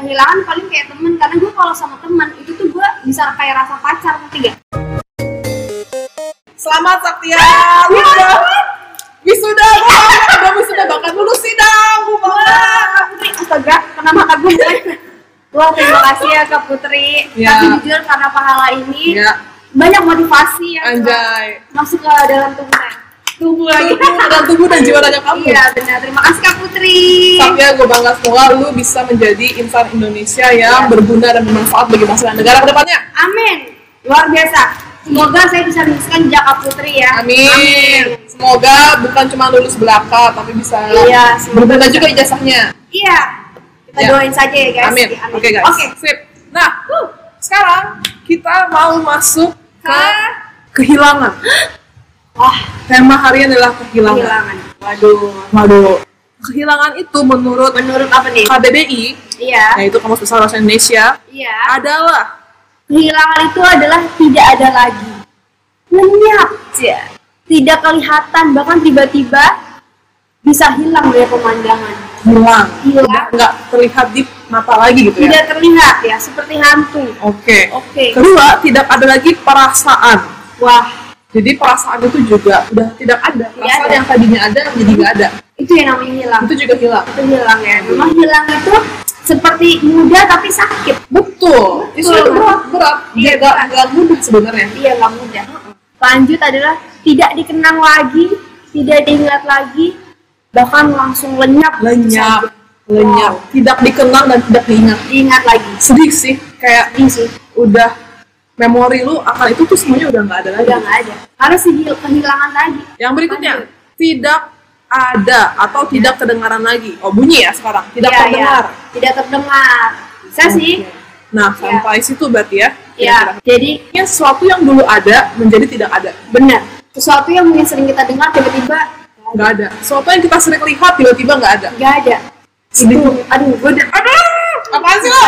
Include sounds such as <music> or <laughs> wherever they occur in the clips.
kehilangan paling kayak temen karena gue kalau sama teman itu tuh gue bisa kayak rasa pacar ketiga Selamat Saktia. Wisuda. Wisuda. Wah, udah wisuda bahkan lulus sidang. Gue bangga. astaga kena mata gue <laughs> Wah terima kasih ya Kak Putri Ya. Tapi jujur karena pahala ini Iya, Banyak motivasi yang anjay. masuk ke dalam tubuhnya Tunggu lagi tunggu dan tunggu dan jiwa raga kamu. <laughs> Iya benar, terima kasih Kak Putri Saktia, gue bangga semoga lu bisa menjadi insan Indonesia yang berguna dan bermanfaat bagi bangsa dan negara kedepannya. Amin Luar biasa Semoga saya bisa meneruskan jejak Kak Putri ya Amin. Semoga bukan cuma lulus belaka, tapi bisa Iya, semoga berguna juga ijazahnya. Iya Kita Ya. doain saja ya guys Amin. Ya, Oke guys. Oke Sip. Nah, sekarang kita mau masuk ke Ke- kehilangan. Wah Tema harian adalah kehilangan. kehilangan Waduh Waduh. Kehilangan itu menurut Menurut apa nih? KBBI, Iya yaitu Kamus Besar Bahasa Indonesia, Iya adalah Kehilangan itu adalah tidak ada lagi. Lenyap ya. Tidak kelihatan, bahkan tiba-tiba bisa hilang dari Iya. pemandangan. hilang. Hilang. Udah nggak terlihat di mata lagi gitu ya. Tidak terlihat ya, seperti hantu. Oke. Oke. Kedua, tidak ada lagi perasaan. Wah, Jadi perasaan itu juga udah tidak ada. Perasaan ada. yang tadinya ada menjadi nggak ada. itu yang namanya hilang. Itu juga hilang. Itu hilang ya. Memang hilang itu seperti muda tapi sakit. Betul. Betul. Itu berat berat. Iya, Iya, nggak nggak mudah sebenarnya. Iya, nggak muda. Lanjut adalah tidak dikenang lagi, tidak diingat lagi, bahkan langsung lenyap. Lenyap, lenyap. Wow. Tidak dikenang dan tidak diingat. Diingat lagi. Sedih sih. Kayak Sedih sih. udah memori lu akan itu tuh semuanya udah nggak ada lagi. udah nggak ada karena sih kehilangan tadi Yang berikutnya tidak ada atau tidak kedengaran lagi. Oh bunyi ya sekarang. Tidak Iya, terdengar. iya. tidak terdengar bisa sih Iya. Oke. Nah sampai situ berarti ya. ya jadi Kira-kira. Sesuatu yang dulu ada menjadi tidak ada. benar sesuatu yang mungkin sering kita dengar tiba-tiba nggak ada sesuatu yang kita sering lihat tiba-tiba nggak ada nggak ada Sedih. itu aduh gue udah aduh apaan sih <laughs> lo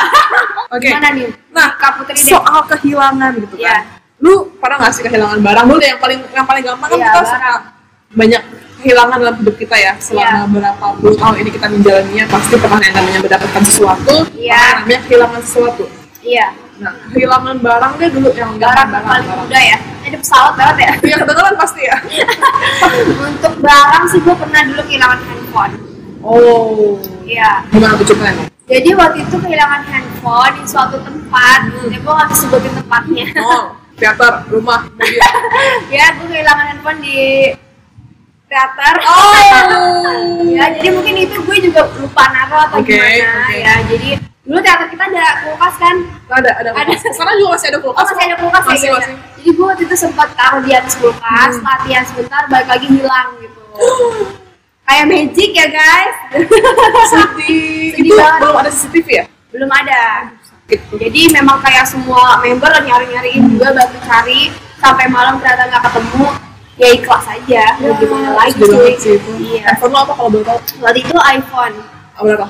oke mana nih nah Kak Putri deh. soal kehilangan gitu Iya. kan lu pernah nggak sih kehilangan barang dulu yang paling yang paling gampang kan Iya, kita barang. suka banyak kehilangan dalam hidup kita ya selama Iya. berapa puluh tahun ini kita menjalaninya pasti pernah yang namanya mendapatkan sesuatu Iya. pernah yang namanya kehilangan sesuatu iya nah kehilangan barang deh dulu yang barang gampang paling muda ya ada pesawat banget <laughs> ya Iya kedengeran pasti ya. untuk barang sih gue pernah dulu kehilangan handphone Oh. iya Gimana tuh ceritanya? jadi waktu itu kehilangan handphone di suatu tempat, ya gue nggak sebutin tempatnya. Oh, teater, <laughs> rumah, mobil. ya gue kehilangan handphone di teater Oh. ya jadi mungkin itu gue juga lupa naro atau Oke, gimana oke. ya jadi dulu teater kita ada kulkas kan ada ada Ada. kulkas. sekarang juga masih ada oh kulkas masih ada kulkas masih ya masih Hmm. iya. jadi gue waktu itu sempat taruh di atas kulkas latihan sebentar balik lagi hilang gitu <gasps> kayak magic ya guys sedih Sedih banget. itu Iya, belum ada CCTV ya belum ada gitu jadi memang kayak semua member nyari nyariin juga bantu cari sampai malam ternyata nggak ketemu ya ikhlas aja mau gimana lagi sedih cuy Ya, banget sih itu iya handphone lo Eh, apa kalau boleh tahu waktu itu iPhone Ah, berapa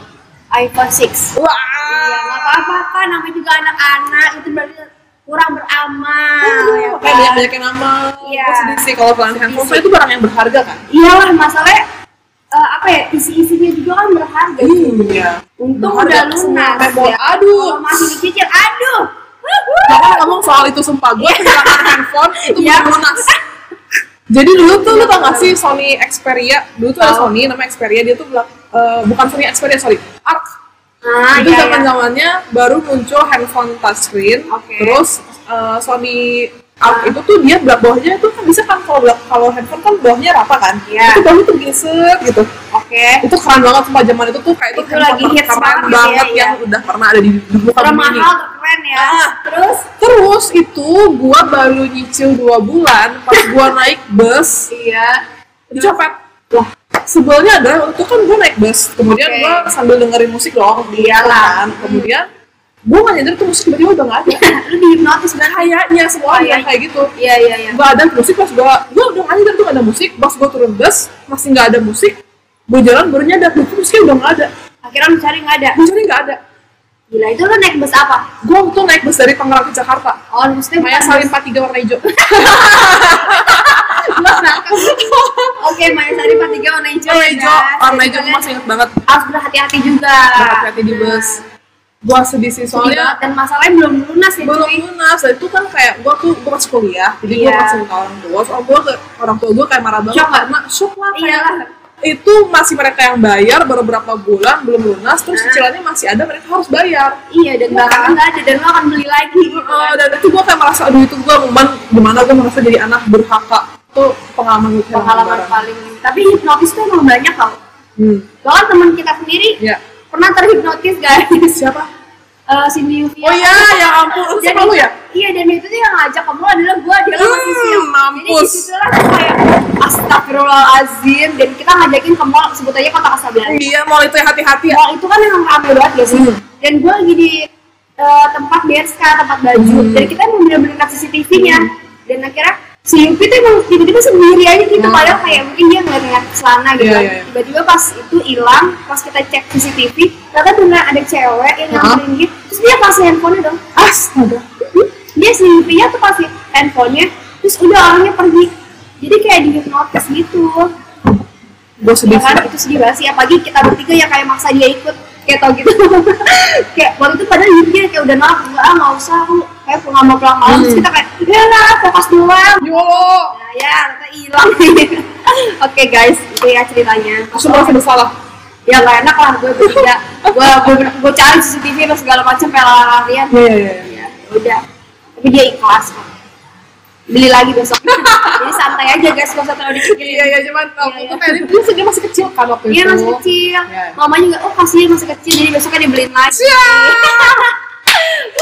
iPhone 6 wah iya nggak apa-apa kan namanya juga anak-anak itu berarti kurang beramal Iya, ya Aduh, kayak kan? banyak banyak yang nama Iya. Gua sedih sih kalau pelan handphone sih. soalnya itu barang yang berharga kan iyalah masalahnya eh, apa ya isi-isinya juga kan berharga iya untung Berharga udah semua lunas memori. ya. aduh kalau masih dicicil aduh makanya ngomong soal itu sumpah gue kehilangan handphone itu Iya. belum lunas jadi dulu tuh lu tau gak sih Sony Xperia dulu tuh ada Tahu. Sony namanya Xperia dia tuh belak- eh, bukan Sony Xperia sorry Arc ah, itu iya, zaman iya. zamannya baru muncul handphone touchscreen Oke. terus eh, Sony Out itu tuh dia belak bawahnya itu kan bisa kan kalau belak kalau handphone kan bawahnya rata kan Iya. itu bawahnya tuh geser gitu oke itu keren banget sumpah zaman itu tuh kayak itu, Itu handphone lagi hits terkeren banget gitu ya, banget iya. yang udah pernah ada di di muka Termahal, bumi ini mahal keren ya Ah. terus terus itu gua baru nyicil dua bulan pas gua naik bus iya dicopet lah sebelnya adalah waktu itu kan gue naik bus kemudian Oke. gue sambil dengerin musik dong di Iyalah. jalan kemudian gue nggak nyadar tuh musik tiba-tiba udah nggak ada lu dihipnotis kan kayaknya semuanya Kayaknya. kayak gitu iya iya iya nggak ada musik pas gue gue udah nggak nyadar tuh nggak ada musik pas gue turun bus masih nggak ada musik gue jalan baru nyadar tuh musiknya udah nggak ada akhirnya lu cari nggak ada gue cari nggak ada gila itu lu naik bus apa gue waktu itu naik bus dari Tangerang ke Jakarta oh maksudnya Maya bukan Salim 43 warna hijau <laughs> Oke, Maya Sari Pak Tiga warna hijau. warna ya, hijau guys. warna Jadi hijau gue kalian masih inget banget Harus berhati-hati juga. berhati-hati di bus Gua sedih sih soalnya Iya, dan masalahnya belum lunas ya belum lunas dan itu kan kayak gue tuh gue masih kuliah jadi gue Iya. masih ke orang tua soal gue ke orang tua gue kayak marah banget Shock lah. karena shock lah kayak iyalah itu masih mereka yang bayar baru berapa bulan belum lunas terus Nah. cicilannya masih ada mereka harus bayar iya dan barangnya nggak ada dan lo akan beli lagi gitu Eh, kan. dan itu gue kayak merasa aduh itu gue momen gimana gue merasa jadi anak berhaka itu pengalaman gue pengalaman paling tapi hipnotis tuh emang banyak tau hmm. bahkan teman kita sendiri ya pernah terhipnotis guys <laughs> <laughs> siapa Eh, Cindy Yuvia Oh iya, ya ampun. Itu Jadi- sama lu ya? iya dan itu tuh yang ngajak kamu adalah gue adalah Hmm, masih siang jadi mampus. disitulah tuh kayak astagfirullahalazim dan kita ngajakin ke mall sebut aja kota Kasablanca Iya, mall itu ya hati-hati ya. mall itu kan yang rame banget gak sih Hmm. dan gue lagi di eh, tempat Berska tempat baju Hmm. dan kita emang bener-bener kasih CCTV-nya Hmm. dan akhirnya si Yupi tuh emang tiba-tiba sendiri aja gitu Hmm. padahal kayak mungkin dia ngeliat-ngeliat celana gitu Iya, kan. iya, iya. tiba-tiba pas itu hilang pas kita cek CCTV ternyata beneran ada cewek yang Hah? ngambilin gitu terus dia kasih handphonenya dong Hmm? Astaga. dia si Yupinya tuh kasih handphonenya terus udah orangnya pergi jadi kayak dihipnotis gitu Gue sedih Iya kan sih. itu sedih banget sih apalagi kita bertiga yang kayak maksa dia ikut kayak tau gitu <laughs> kayak waktu itu padahal dia kayak udah nolak enggak ah nggak usah aku kayak pulang mau pulang malam terus Hmm. kita kayak ya lah fokus doang Yolo. nah, ya ternyata hilang <laughs> nih oke guys itu ya ceritanya Aku merasa bersalah. ya nggak enak lah gue bertiga gue gue- gue cari CCTV dan segala macam pelarian Iya, iya, iya. ya udah tapi dia ikhlas kok beli lagi besok <laughs> jadi santai aja guys gak usah terlalu dipikirin Iya, iya, cuman aku Iya, tuh iya. kayak dia dia masih kecil kan waktu itu. Iya masih kecil. Iya. Mamanya juga, oh kasih masih kecil jadi besoknya dibeliin lagi. Ya.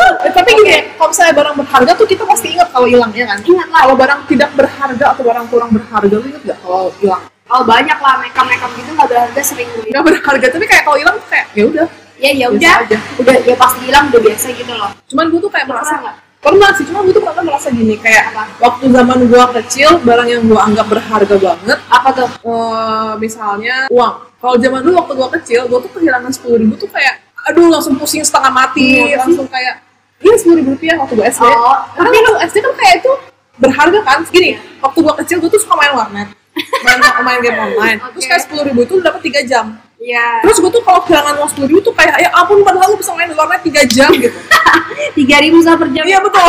Eh, tapi gini, kalau misalnya barang berharga tuh kita pasti ingat kalau hilang ya kan? Ingat lah. Kalau barang tidak berharga atau barang kurang berharga lu ingat gak kalau hilang? <laughs> Oh banyak lah makeup makeup gitu nggak berharga sering beli. Gak berharga, tapi kayak kalau hilang tuh kayak ya udah. Ya ya Biasa udah, aja. udah ya pasti hilang udah biasa gitu loh. Cuman gue tuh kayak Pernah merasa nggak? pernah sih, cuman gue tuh pernah merasa gini kayak Apa? waktu zaman gua kecil barang yang gua anggap berharga banget Apa tuh? eh misalnya uang. Kalau zaman dulu waktu gua kecil, gua tuh kehilangan sepuluh ribu tuh kayak, aduh langsung pusing setengah mati, Iya, langsung kayak, ini sepuluh ribu rupiah waktu gua SD. Oh, Karena waktu SD kan kayak itu berharga kan, gini. Waktu gua kecil gua tuh suka main warnet, <laughs> main main game online. Terus Oke. kayak sepuluh ribu itu dapat tiga jam. Ya Terus gua tuh kalau kehilangan uang sepuluh ribu tuh kayak, ya ampun padahal gua bisa main di warnet tiga jam <laughs> gitu. tiga ribu per jam. Iya betul.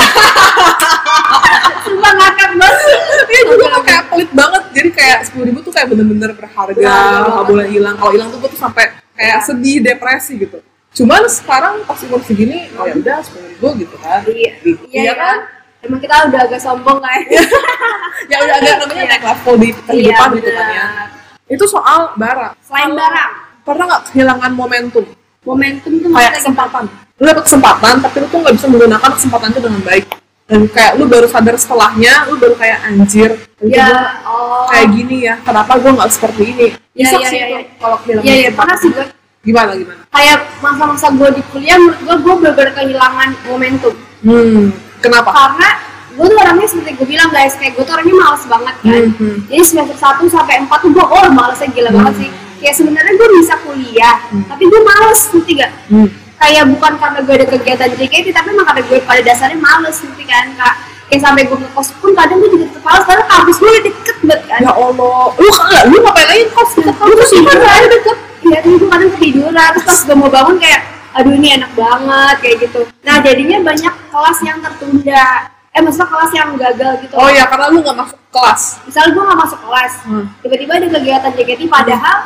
Sumpah ngakak banget. Iya juga tuh kayak pelit banget. Jadi kayak sepuluh ribu tuh kayak bener-bener berharga, Berharga nggak banget. boleh hilang. Kalau hilang tuh gue tuh sampai kayak sedih, depresi gitu. Cuman sekarang pas umur segini, oh ya udah sepuluh ribu gitu kan. Iya, Gitu. iya kan? Emang kita udah agak sombong lah. <laughs> ya. Ya udah agak namanya naik level di kehidupan gitu kan ya. Iya, bener. Itu soal barang. Selain Kalau barang. Pernah nggak kehilangan momentum? Momentum tuh maksudnya Kayak kesempatan. Lu dapet kesempatan, tapi lu tuh nggak bisa menggunakan kesempatan itu dengan baik. Dan kayak lu baru sadar setelahnya, lu baru kayak anjir. gitu. itu Ya, gua oh. kayak gini ya kenapa gue nggak seperti ini Ya, Nyesek ya, sih ya, itu ya. kalau film Iya, iya, pernah sih gue gimana gimana kayak masa-masa gue di kuliah menurut gue gue bener kehilangan momentum hmm kenapa karena gue tuh orangnya seperti gue bilang guys kayak gue tuh orangnya males banget kan Mhm. jadi semester 1 sampai 4 tuh gue oh malesnya gila banget Hmm. sih kayak sebenarnya gue bisa kuliah tapi gue males ngerti gak hmm. kayak bukan karena gue ada kegiatan JKT tapi emang karena gue pada dasarnya males ngerti kan kak kayak sampai gue ngekos pun kadang gue juga tetep males karena kampus gue udah deket banget kan ya allah lu kagak lu ngapain lagi kos deket Lu lu tuh ketiduran. sih aja deket Iya, tapi gue kadang ketiduran. Terus pas gue mau bangun kayak, aduh ini enak banget, kayak gitu. Nah, jadinya banyak kelas yang tertunda. Eh, maksudnya kelas yang gagal gitu. oh ya karena lu nggak masuk kelas Misalnya gue gak masuk kelas, Hmm. tiba-tiba ada kegiatan JKT, padahal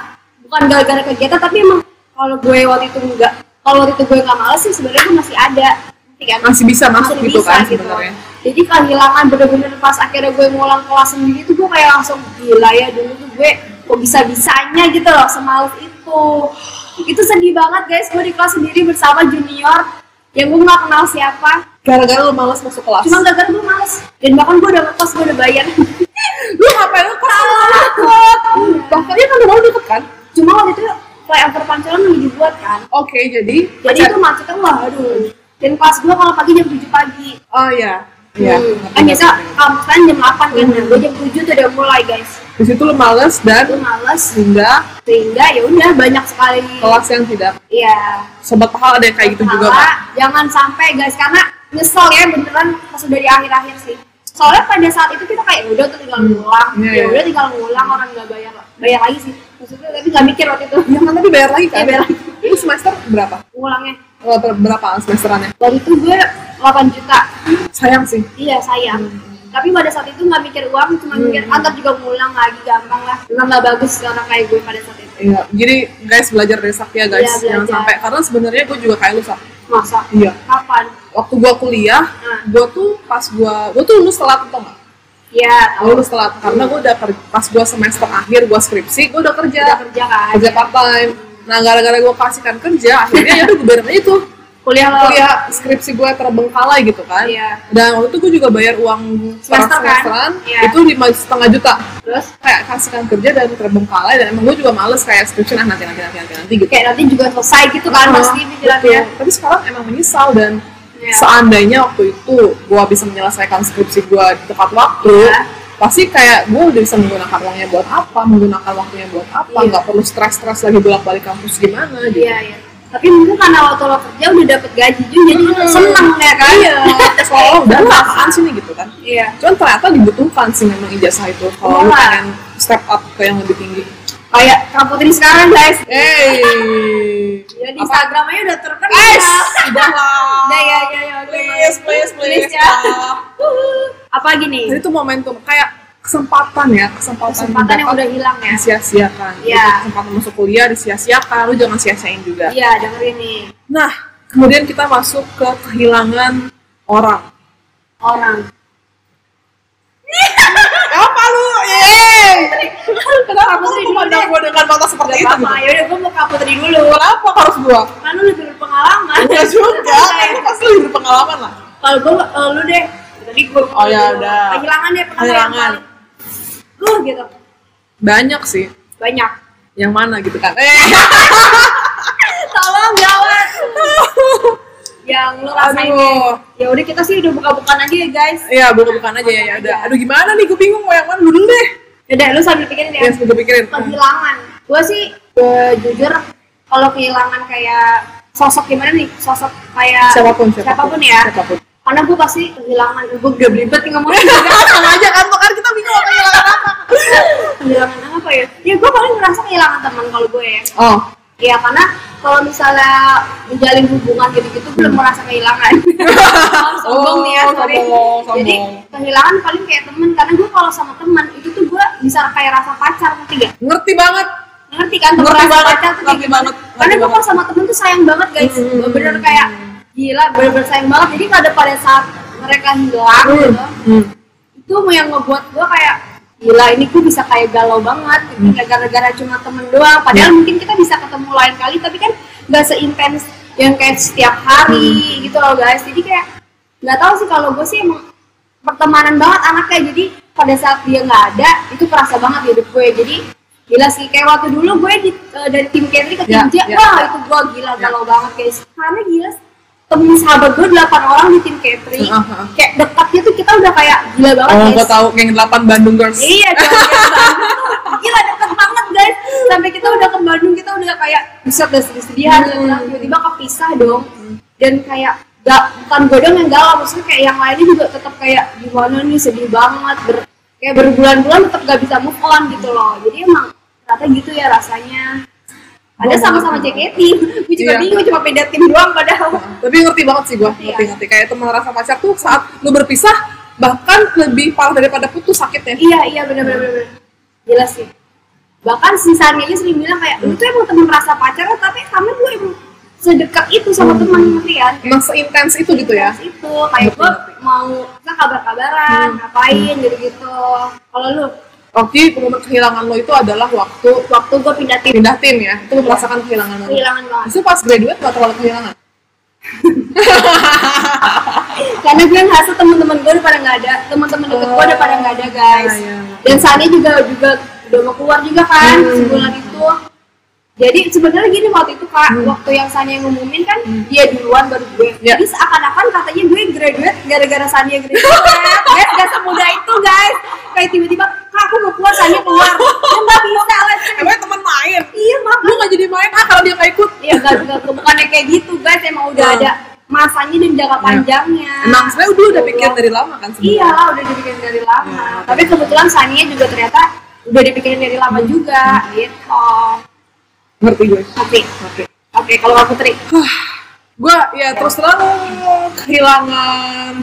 bukan gara-gara kegiatan, tapi emang kalau gue waktu itu enggak, kalau waktu itu gue gak males sih, sebenarnya gue masih ada. Ngerti kan? masih bisa masuk Masih gitu bisa kan sebenarnya Jadi kehilangan bener-bener pas akhirnya gue ngulang kelas sendiri tuh gue kayak langsung gila ya dulu tuh gue kok bisa-bisanya gitu loh semalas itu. Itu sedih banget guys, gue di kelas sendiri bersama junior yang gue gak kenal siapa. gara-gara lu malas masuk kelas Cuma gara-gara gue males dan bahkan gue udah ngekos, gue udah bayar. <laughs> lu ngapain lu kos lu deket bahkan dia kan udah deket kan Cuma waktu itu flyover pancoran lagi dibuat kan. oke jadi Jadi itu macetnya wah aduh. Dan kelas gue kalau pagi jam 7 pagi. oh ya Ya, kan biasa kampus kan jam 8 kan, Hmm. nah, gue jam 7 tuh udah mulai guys. di situ lu malas Gue dan males, hingga sehingga ya udah banyak sekali kelas yang tidak ya sobat pahala ada yang kayak gitu juga kan jangan sampai guys karena nyesel ya beneran pas udah di akhir-akhir sih soalnya pada saat itu kita kayak udah tuh tinggal ngulang ya Iya, iya. udah tinggal ngulang orang nggak bayar bayar lagi sih maksudnya tapi nggak mikir waktu itu <laughs> Ya kan tapi bayar Iya, lagi kan? Iya, bayar lagi. Lu semester berapa? ngulangnya Oh, Kalau ber- berapa semesterannya? Waktu itu gue 8 juta. Sayang sih. Iya sayang. Hmm. Tapi pada saat itu nggak mikir uang, cuma mikir antar juga ngulang lagi gampang lah. Memang nggak bagus ke orang kayak gue pada saat itu. Iya. Jadi guys belajar dari Sakti ya guys. Iya, Jangan belajar. sampai karena sebenarnya gue juga kayak lu Sak. Masa? Iya. Kapan? Waktu gue kuliah, Hmm. gue tuh pas gue gue tuh lulus telat tau nggak? Iya, tahu. Lulus telat karena gue udah ker- pas gue semester akhir gue skripsi gue udah kerja. Udah kerja kan? kerja part time. Nah gara-gara gue kasihkan kerja akhirnya ya udah gue bayar aja tuh Kuliah lo. kuliah skripsi gue terbengkalai gitu kan. Oh. Iya. Dan waktu itu gue juga bayar uang Semester kan? semesteran Iya. itu lima setengah juta. Terus Kayak kasihkan kerja dan terbengkalai dan emang gue juga males kayak skripsi nah nanti nanti nanti nanti, nanti gitu. Oh, kayak nanti juga selesai gitu kan pasti Betul. pikirannya. Tapi sekarang emang menyesal dan Iya. seandainya waktu itu gue bisa menyelesaikan skripsi gue di tepat waktu, Iya. pasti kayak gue udah bisa menggunakan uangnya buat apa, menggunakan waktunya buat apa, Iya. nggak perlu stres-stres lagi bolak-balik kampus gimana gitu. Iya, iya. Tapi mungkin karena waktu lo kerja udah dapet gaji juga, jadi lo Hmm. seneng ya kan? <laughs> Iya. Soalnya udah lah, apaan sih nih gitu kan. Iya. Cuman ternyata dibutuhkan sih memang ijazah itu Iya. kalau lu pengen step up ke yang lebih tinggi. Kayak Kak Putri sekarang guys. Hey. Ya, di Instagram aja udah terkenal. Guys, Eh, udah lah. Udah ya, ya, ya. udah. Please, please, please. ya. lah. Apa gini? Jadi itu momentum kayak kesempatan ya, kesempatan, Kesempatan yang didapat udah hilang ya. disia-siakan. Iya. Jadi Kesempatan masuk kuliah disia-siakan, lu jangan sia-siain juga. Iya, dengerin nih. Nah, kemudian kita masuk ke kehilangan <laughs> orang. Orang. Apa lu? Yeay! Aku Kenapa aku sering memandang dulu gua dengan mata seperti Gak itu? apa-apa, yaudah gue mau Kak Putri dulu. Kenapa harus gua? Kan lu lebih berpengalaman. Enggak <laughs> Iya juga, Nah, ini pasti lebih berpengalaman lah. Kalau gue, eh, lu deh. Tadi gue. Oh, ya udah. Kehilangan deh, pernah Kehilangan. Gue gitu. Banyak sih. <laughs> Banyak. Yang mana gitu kan? Eh, Tolong jawab. Eh. <laughs> yang lo rasain Aduh. ya udah kita sih udah buka-bukaan aja ya guys iya bukan-bukan aja ya, ya udah. Iya. Aduh gimana nih, gue bingung mau yang mana dulu deh. udah lu sambil pikirin ya Ya, yes, gue pikirin. kehilangan gue sih eh, jujur kalau kehilangan kayak sosok gimana nih sosok kayak Siapapun, siapapun. ya Siapapun. karena gue pasti kehilangan gue gak belibet nih ngomongnya juga. sama aja kan, tuh kan kita bingung apa kehilangan apa. kehilangan apa ya ya gue paling ngerasa kehilangan teman kalau gue ya Oh, Iya karena kalau misalnya menjalin hubungan gitu-gitu belum merasa <laughs> kehilangan. Maaf, sombong Oh, nih ya, sorry. sombong, sombong. Jadi kehilangan paling kayak temen karena gue kalau sama temen itu tuh gue bisa kayak rasa pacar ngerti gak? ngerti banget. Ngerti kan? temen Ngerti rasa banget, pacar tuh kayak ngerti gimana? banget, Karena ngerti gue kalau sama temen tuh sayang banget guys, Hmm. bener kayak gila, bener-bener sayang banget. Jadi pada pada saat mereka hilang gitu, Hmm. itu yang ngebuat gue kayak gila ini gue bisa kayak galau banget gitu, kayak gara-gara cuma temen doang Ya. padahal mungkin kita bisa ketemu lain kali tapi kan gak seintens yang kayak setiap Hmm. hari gitu loh guys jadi kayak nggak tahu sih kalau gue sih emang pertemanan banget anaknya jadi pada saat dia nggak ada itu kerasa banget di hidup gue jadi gila sih kayak waktu dulu gue di- eh, dari tim Kendri ke tim Ya, J, ya. wah itu gue gila galau banget guys karena gila temen sahabat gue 8 orang di tim Katri Heeh, heeh. kayak dekatnya tuh kita udah kayak gila banget Oh, guys gue tahu geng 8 Bandung Girls. Iya, jalan-jalan Bandung tuh gila deket banget guys. Sampai kita udah ke Bandung kita udah kayak bisa udah sedih-sedihan Hmm. gitu. tiba-tiba kepisah dong. Dan kayak gak, bukan gue doang yang galau, maksudnya kayak yang lainnya juga tetap kayak gimana nih sedih banget. Ber- kayak berbulan-bulan tetap gak bisa move on gitu loh. Jadi emang ternyata gitu ya rasanya. Ada Gua sama-sama ngerti. JKT, gue juga Iya. bingung cuma beda tim doang padahal. Tapi ngerti banget sih gue, Iya. ngerti-ngerti. Kayak teman rasa pacar tuh saat lu berpisah, bahkan lebih parah daripada putus sakitnya. Iya iya benar benar benar. benar. Jelas sih. Bahkan si Sani aja sering bilang kayak lu tuh emang temen merasa pacaran tapi kami tuh emang sedekat itu sama teman ngerti kan? Emang seintens itu gitu ya. Terus itu kayak gua mau kita kabar-kabaran, ngapain gitu-gitu. Kalau lu Oke, momen kehilangan lo itu adalah waktu waktu gua pindah tim pindah tim ya. Itu lu merasakan kehilangan lo. kehilangan banget. Itu pas graduate gak terlalu kehilangan. Karena gue ngerasa teman-teman gue udah pada nggak ada, teman-teman deket gue udah pada nggak ada guys. Iya, iya. Hmm. Dan Sani juga juga udah mau keluar juga kan sebulan itu. Jadi sebenarnya gini waktu itu kak, Hmm. waktu yang Sani yang ngumumin kan dia duluan baru gue. Iya. Jadi seakan-akan katanya gue graduate gara-gara Sani yang graduate. <laughs> guys gak semudah itu guys. Kayak tiba-tiba kak aku mau keluar Sani keluar. Ya nggak bisa lah. Cek. Emangnya teman main? Iya maaf Lu gak jadi main ah kalau dia gak ikut. Iya gak, gak, bukannya kayak gitu guys emang udah Hmm. ada masanya dan jangka panjangnya. Iya. Iya. Emang Nah, sebenarnya dulu udah Goblok. pikir dari lama kan sebenarnya. Nah. Iya, udah dipikirin dari Iya. lama. Tapi kebetulan Sania juga ternyata udah dipikirin dari lama juga, gitu. Ngerti gue. Oke, Oke. oke. Kalau aku Putri, gue ya terus terang kehilangan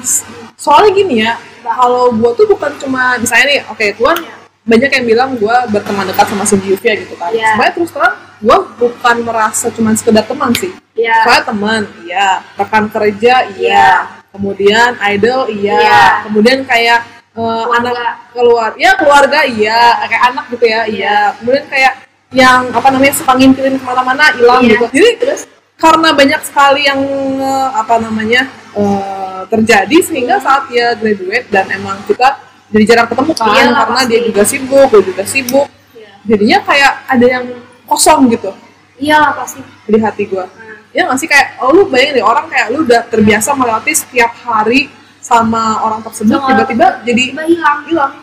soalnya gini ya kalau gue tuh bukan cuma misalnya nih oke tuan banyak yang bilang gue berteman dekat sama si Juvia gitu kan Iya. sebenarnya terus terang gue bukan merasa cuma sekedar teman sih Iya. Soalnya teman iya rekan kerja iya Iya. kemudian idol iya Iya. kemudian kayak eh, Keluarga. anak keluar ya keluarga iya kayak anak gitu ya iya kemudian kayak yang apa namanya suka ngimpirin kemana-mana hilang Iya. gitu jadi terus karena banyak sekali yang eh, apa namanya eh, terjadi sehingga saat dia graduate dan emang kita jadi jarang ketemu kan Iyalah, karena dia Iya, pasti. juga sibuk, gue juga sibuk. iya Jadinya kayak ada yang kosong gitu iyalah Iya, pasti di hati gue. Nah, Ya nggak sih kayak oh, lu bayangin deh orang kayak lu udah terbiasa melewati setiap hari sama orang tersebut Sama orang tiba-tiba jadi tiba hilang hilang.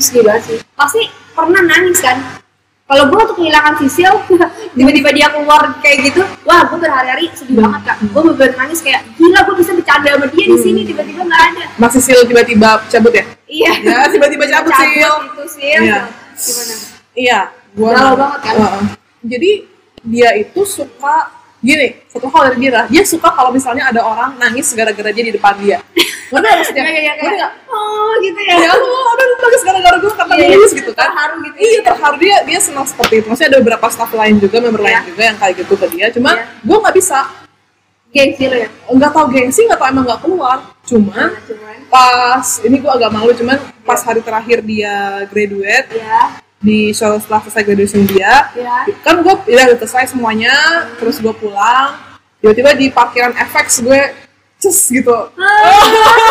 sedih banget sih pasti pernah nangis kan kalau gue tuh kehilangan sisil <laughs> tiba-tiba dia keluar kayak gitu wah gue berhari-hari sedih banget kak gue bener nangis kayak gila gue bisa bercanda sama dia di sini tiba-tiba nggak ada Masih sil tiba-tiba cabut ya? iya Ya, tiba-tiba cabut, Sil. itu sil Iya. gimana Iya, gua Galau banget kan? Heeh. Jadi dia itu suka gini, satu hal dari dia, adalah, dia suka kalau misalnya ada orang nangis gara-gara dia di depan dia. Ngerti nggak maksudnya? Iya, iya, iya, Ngerti nggak? oh gitu ya Ya lu udah lu nangis gara-gara gue karena Iya, iya. nangis gitu kan. Terharu gitu. Iya, terharu dia dia senang seperti itu. Maksudnya ada beberapa staff lain juga, member lain Iya. juga yang kayak gitu ke dia. Cuma Iya. gua nggak bisa, gengsi lo ya nggak tahu gengsi, nggak tahu emang nggak keluar. Cuman Nah, cuman pas ini gua agak malu cuman pas hari terakhir dia graduate ya di show setelah selesai graduation dia ya kan gue udah udah selesai semuanya terus gue pulang tiba-tiba di parkiran FX gue cus gitu Ah.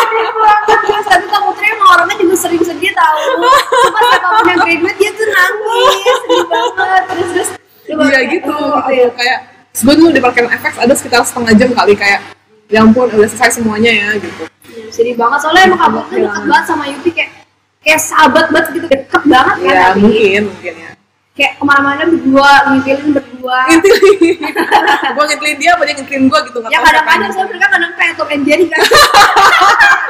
tapi kamu terima orangnya juga sering sedih tau Cuma siapapun yang graduate dia tuh nangis Sedih banget Terus terus lu iya baru- gitu Oh, Aduh, gitu ya. kayak gue dulu di parkiran FX ada sekitar setengah jam kali kayak ya ampun udah selesai semuanya ya gitu Iya, sedih banget soalnya emang kamu tuh Iya. deket banget sama Yupi kayak kayak sahabat banget gitu deket banget kan ya tapi mungkin mungkin ya kayak kemana-mana berdua ngintilin berdua Iya. <laughs> ngintilin gue ngintilin dia apa dia ngintilin gue gitu nggak Ah. ya tahu kadang-kadang siapa soalnya mereka kadang kayak Tom and Jerry <laughs> kan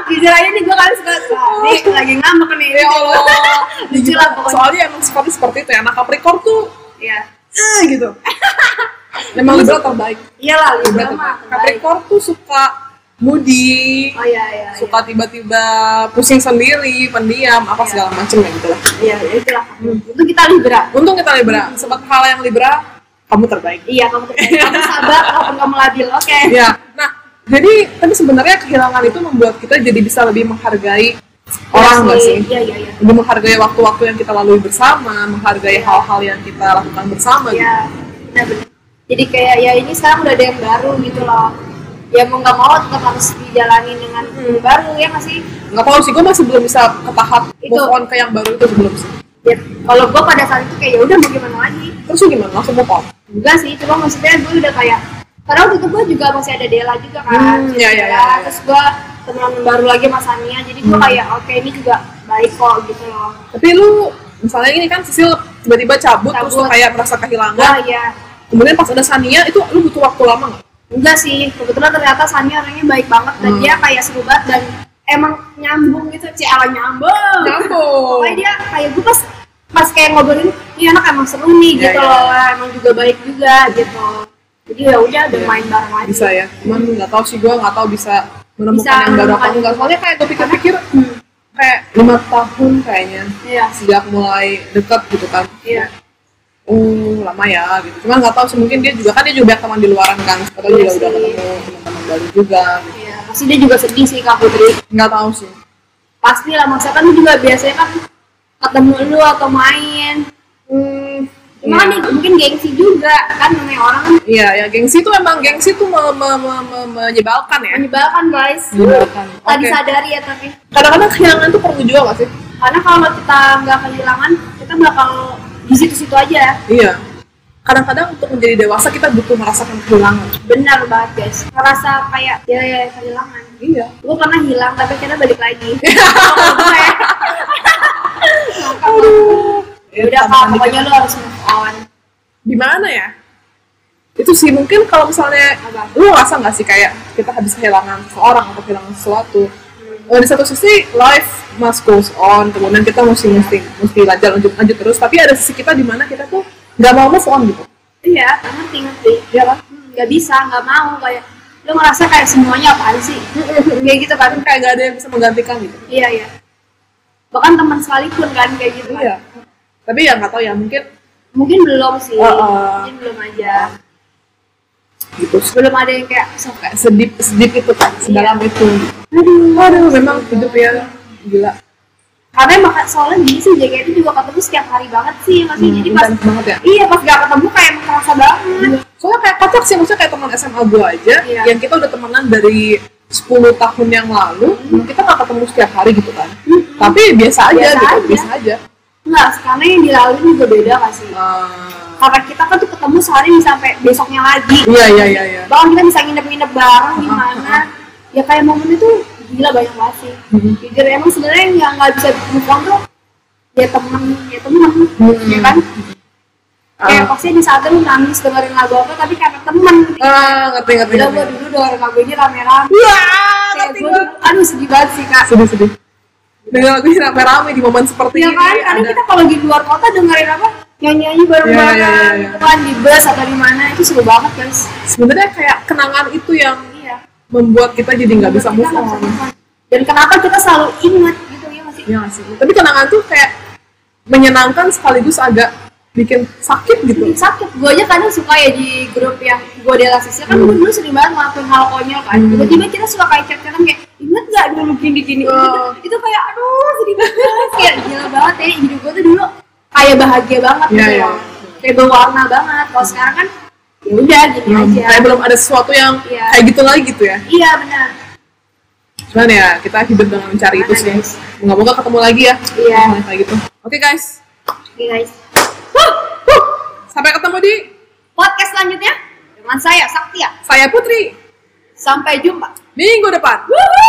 jujur aja nih gue kalian suka "Wah, nih lagi ngambek nih yang- ya Allah <laughs> Lucu lah pokoknya. soalnya emang seperti seperti itu ya anak Capricorn tuh Iya. eh, <laughs> gitu memang Libra terbaik iyalah Libra Libra mah terbaik. terbaik. Capricorn tuh suka moody oh iya iya suka tiba-tiba pusing sendiri, pendiam, apa Iya. segala macem ya gitu lah. iya iya itulah itu kita Libra Untung kita Libra, Hmm. sempat hal yang Libra, kamu <laughs> terbaik. Iya, kamu <laughs> terbaik. Kamu sabar, walaupun kamu labil. Oke. Ya, nah jadi tapi sebenarnya kehilangan itu membuat kita jadi bisa lebih menghargai orang nggak sih? Iya, iya, iya. Lebih menghargai waktu-waktu yang kita lalui bersama, menghargai hal-hal yang kita lakukan bersama. Iya, gitu. benar-benar. Jadi kayak ya ini sekarang udah ada yang baru gitu loh. Ya mau nggak mau tetap harus dijalani dengan Hmm. yang baru ya nggak sih? Nggak tahu sih, gue masih belum bisa ke tahap Itu. move on ke yang baru itu belum sih. Ya, kalau gua pada saat itu kayak ya udah mau gimana lagi? Terus lu gimana? Langsung move on? Enggak sih, cuma maksudnya gue udah kayak karena waktu itu gue juga masih ada Dela juga kan. Hmm, iya, iya, Dela, iya, Hmm. iya. Terus gue teman baru lagi sama Sania, jadi gue kayak oke ini juga baik kok gitu loh. Tapi lu misalnya ini kan Sisil tiba-tiba cabut, terus lu Cabut. kayak merasa kehilangan. Wah ya Kemudian pas ada Sania itu lu butuh waktu lama nggak? Enggak sih, kebetulan ternyata Sania orangnya baik banget dan Hmm. dia kayak seru banget dan emang nyambung gitu, ciala nyambung. Nyambung. Pokoknya dia kayak gue pas pas kayak ngobrolin, ini anak emang seru nih Ya, gitu ya. loh, emang juga baik juga gitu. Jadi ya udah udah Ya. main bareng aja. Bisa ya, cuman nggak tahu sih gue nggak tahu bisa menemukan Bisa yang baru apa menemukan. enggak. Soalnya kayak gue pikir-pikir Hmm. kayak lima tahun kayaknya Iya. sejak mulai deket gitu kan. Iya. Uh, lama ya gitu. Cuman nggak tahu sih mungkin dia juga kan dia juga banyak teman di luaran kan. Atau Iya juga udah sih. ketemu teman-teman baru juga. Gitu. Iya, pasti dia juga sedih sih Kak Putri. Nggak tahu sih. Pasti lah, maksudnya kan lu juga biasanya kan ketemu lu atau main. Hmm, Cuma kan iya. nih, mungkin gengsi juga kan namanya orang kan Iya, ya gengsi tuh emang gengsi tuh me- me- me- me- menyebalkan ya. menyebalkan guys. Menyebalkan. Tadi Iya, Oke. sadari ya tapi. Kadang-kadang kehilangan tuh perlu juga gak sih? karena kalau kita nggak kehilangan kita bakal di situ-situ aja Iya. Kadang-kadang untuk menjadi dewasa kita butuh merasakan kehilangan. benar banget guys ngerasa kayak ya, ya kehilangan Iya. gue pernah hilang tapi akhirnya balik lagi <laughs> ya. Kalau gue. Maka Iya, udah kak pokoknya lo harus move on Di mana ya? Itu sih mungkin kalau misalnya Apa? lu rasa nggak sih kayak kita habis kehilangan seseorang atau kehilangan sesuatu. Hmm. Eh, Di satu sisi life must goes on, kemudian kita mesti mesti mesti lanjut lanjut lanjut terus. Tapi ada sisi kita di mana kita tuh nggak mau move on gitu. iya ngerti ngerti Iya kan? nggak bisa nggak mau kayak lo ngerasa kayak semuanya apaan sih Hmm. kayak gitu kan kayak gak ada yang bisa menggantikan gitu iya iya bahkan teman sekalipun kan kayak gitu kan. iya tapi ya nggak tahu ya mungkin mungkin belum sih Oh, oh. mungkin belum aja gitu belum ada yang kayak sok kayak, sedip sedip itu kan sedalam Iya. itu aduh aduh memang hidup ya gila karena emang soalnya gini sih JKT juga ketemu setiap hari banget sih masih Hmm, Iya, jadi pas intens banget ya iya pas gak ketemu kayak emang kerasa banget soalnya kayak kocak sih maksudnya kayak teman SMA gue aja Iya. yang kita udah temenan dari 10 tahun yang lalu kita gak ketemu setiap hari gitu kan tapi biasa Hmm. aja Biasa gitu aja. biasa aja nggak karena yang dilalui juga beda gak sih Ah, karena kita kan tuh ketemu sehari bisa sampai besoknya lagi iya iya iya iya bahkan kita bisa nginep-nginep bareng di Ah, ah, mana ya kayak momen itu gila banyak banget sih Mhm. jujur emang sebenarnya yang nggak bisa move on tuh ya temen ya temen Mhm. ya kan kayak Ah. pasti di saat lu nangis dengerin lagu apa tapi karena temen Ah, ngerti ngerti Udah ngerti. gue dulu dengerin lagu ini rame-rame Wah, Iya, kayak ngerti gue gue. aduh sedih banget sih kak Sedih sedih. Dengan lagu ini rame-rame di momen seperti Iya ini ya, kan, kadang ada- kita kalau di luar kota dengerin apa nyanyi-nyanyi bareng-bareng Iya, iya, iya, iya. gitu kan di bus atau di mana itu seru banget guys. sebenarnya kayak kenangan itu yang Iya. membuat kita jadi nggak bisa Kita move nggak bisa on. move on. Dan kenapa kita selalu ingat gitu ya masih? Iya nggak sih. Tapi kenangan tuh kayak menyenangkan sekaligus agak bikin sakit gitu. Bikin sakit. Gue aja kadang suka ya di grup yang gue delasisnya kan Hmm. gue dulu sering banget ngelakuin hal konyol kan. Hmm. Tiba-tiba kita suka kayak chat-chatan kayak inget gak dulu gini-gini Oh. Itu- itu kayak aduh sedih banget kayak gila banget ya hidup gue tuh dulu kayak bahagia banget Iya, gitu iya. loh. Kayak berwarna banget. Kalau sekarang kan ya udah gini Hmm, aja. Kayak belum ada sesuatu yang Iya. kayak gitu lagi gitu ya. Iya benar. Cuman ya kita hidup dengan mencari itu Mana, sih. guys? Moga-moga ketemu lagi ya. Iya. Nah, Kayak gitu. Oke guys, Oke guys. sampai ketemu di Podcast selanjutnya dengan saya Saktia. saya Putri Sampai jumpa. minggu depan. Woohoo!